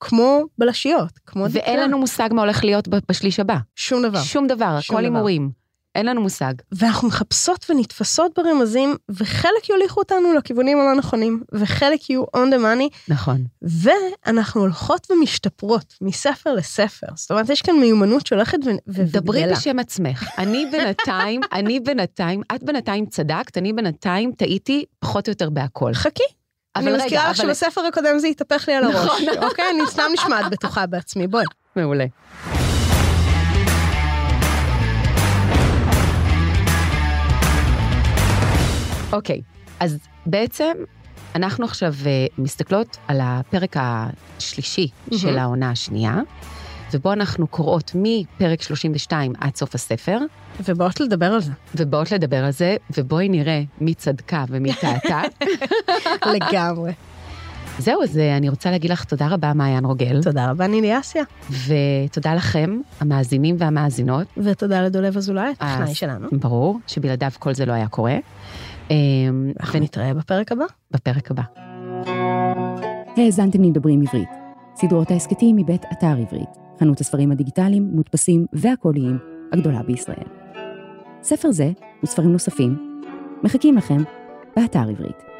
Speaker 2: כמו בלשיות, כמו
Speaker 1: ואין לנו מושג מה הולך להיות ב- בשליש הבא.
Speaker 2: שום דבר.
Speaker 1: שום דבר,
Speaker 2: לא, שום
Speaker 1: הכל
Speaker 2: דבר.
Speaker 1: הימורים. אין לנו מושג.
Speaker 2: ואנחנו מחפשות ונתפסות ברמזים, וחלק יוליכו אותנו לכיוונים הלא נכונים, וחלק יהיו on the money,
Speaker 1: נכון.
Speaker 2: ואנחנו הולכות ומשתפרות מספר לספר. זאת אומרת, יש כאן מיומנות שהולכת ו- ו- וגדלה.
Speaker 1: דברי בשם עצמך. אני בינתיים, אני בינתיים, את בינתיים צדקת, אני בינתיים טעיתי פחות או יותר בהכל.
Speaker 2: חכי,
Speaker 1: אבל
Speaker 2: אני
Speaker 1: רגע,
Speaker 2: מזכירה לך
Speaker 1: אבל-
Speaker 2: שבספר הקודם זה התהפך לי על הראש.
Speaker 1: נכון.
Speaker 2: אוקיי? אני סתם נשמעת בטוחה בעצמי, בואי.
Speaker 1: מעולה. אוקיי, אז בעצם אנחנו עכשיו אה, מסתכלות על הפרק השלישי
Speaker 2: מהמם.
Speaker 1: של העונה השנייה, ובו אנחנו קוראות מפרק 32 עד סוף הספר,
Speaker 2: ובאות לדבר על זה.
Speaker 1: ובאות לדבר על זה, ובואי נראה מי צדקה ומי טעתה.
Speaker 2: לגמרי.
Speaker 1: זהו, אז אה, אני רוצה להגיד לך תודה רבה, מעיין רוגל,
Speaker 2: תודה רבה, נילי אסיה.
Speaker 1: ותודה לכם, המאזינים והמאזינות.
Speaker 2: ותודה לדולב אזולאי,
Speaker 1: אה,
Speaker 2: הטכנאי שלנו.
Speaker 1: ברור שבלעדיו כל זה לא היה קורה. אה,
Speaker 2: אנחנו נתראה בפרק הבא.
Speaker 1: ובפרק הבא.
Speaker 3: האזנתם למדברים עברית. סדרות ההסכתים מבית אתר עברית, חנות הספרים הדיגיטליים, מודפסים והקוליים הגדולה בישראל. ספר זה וספרים נוספים מחכים לכם באתר עברית.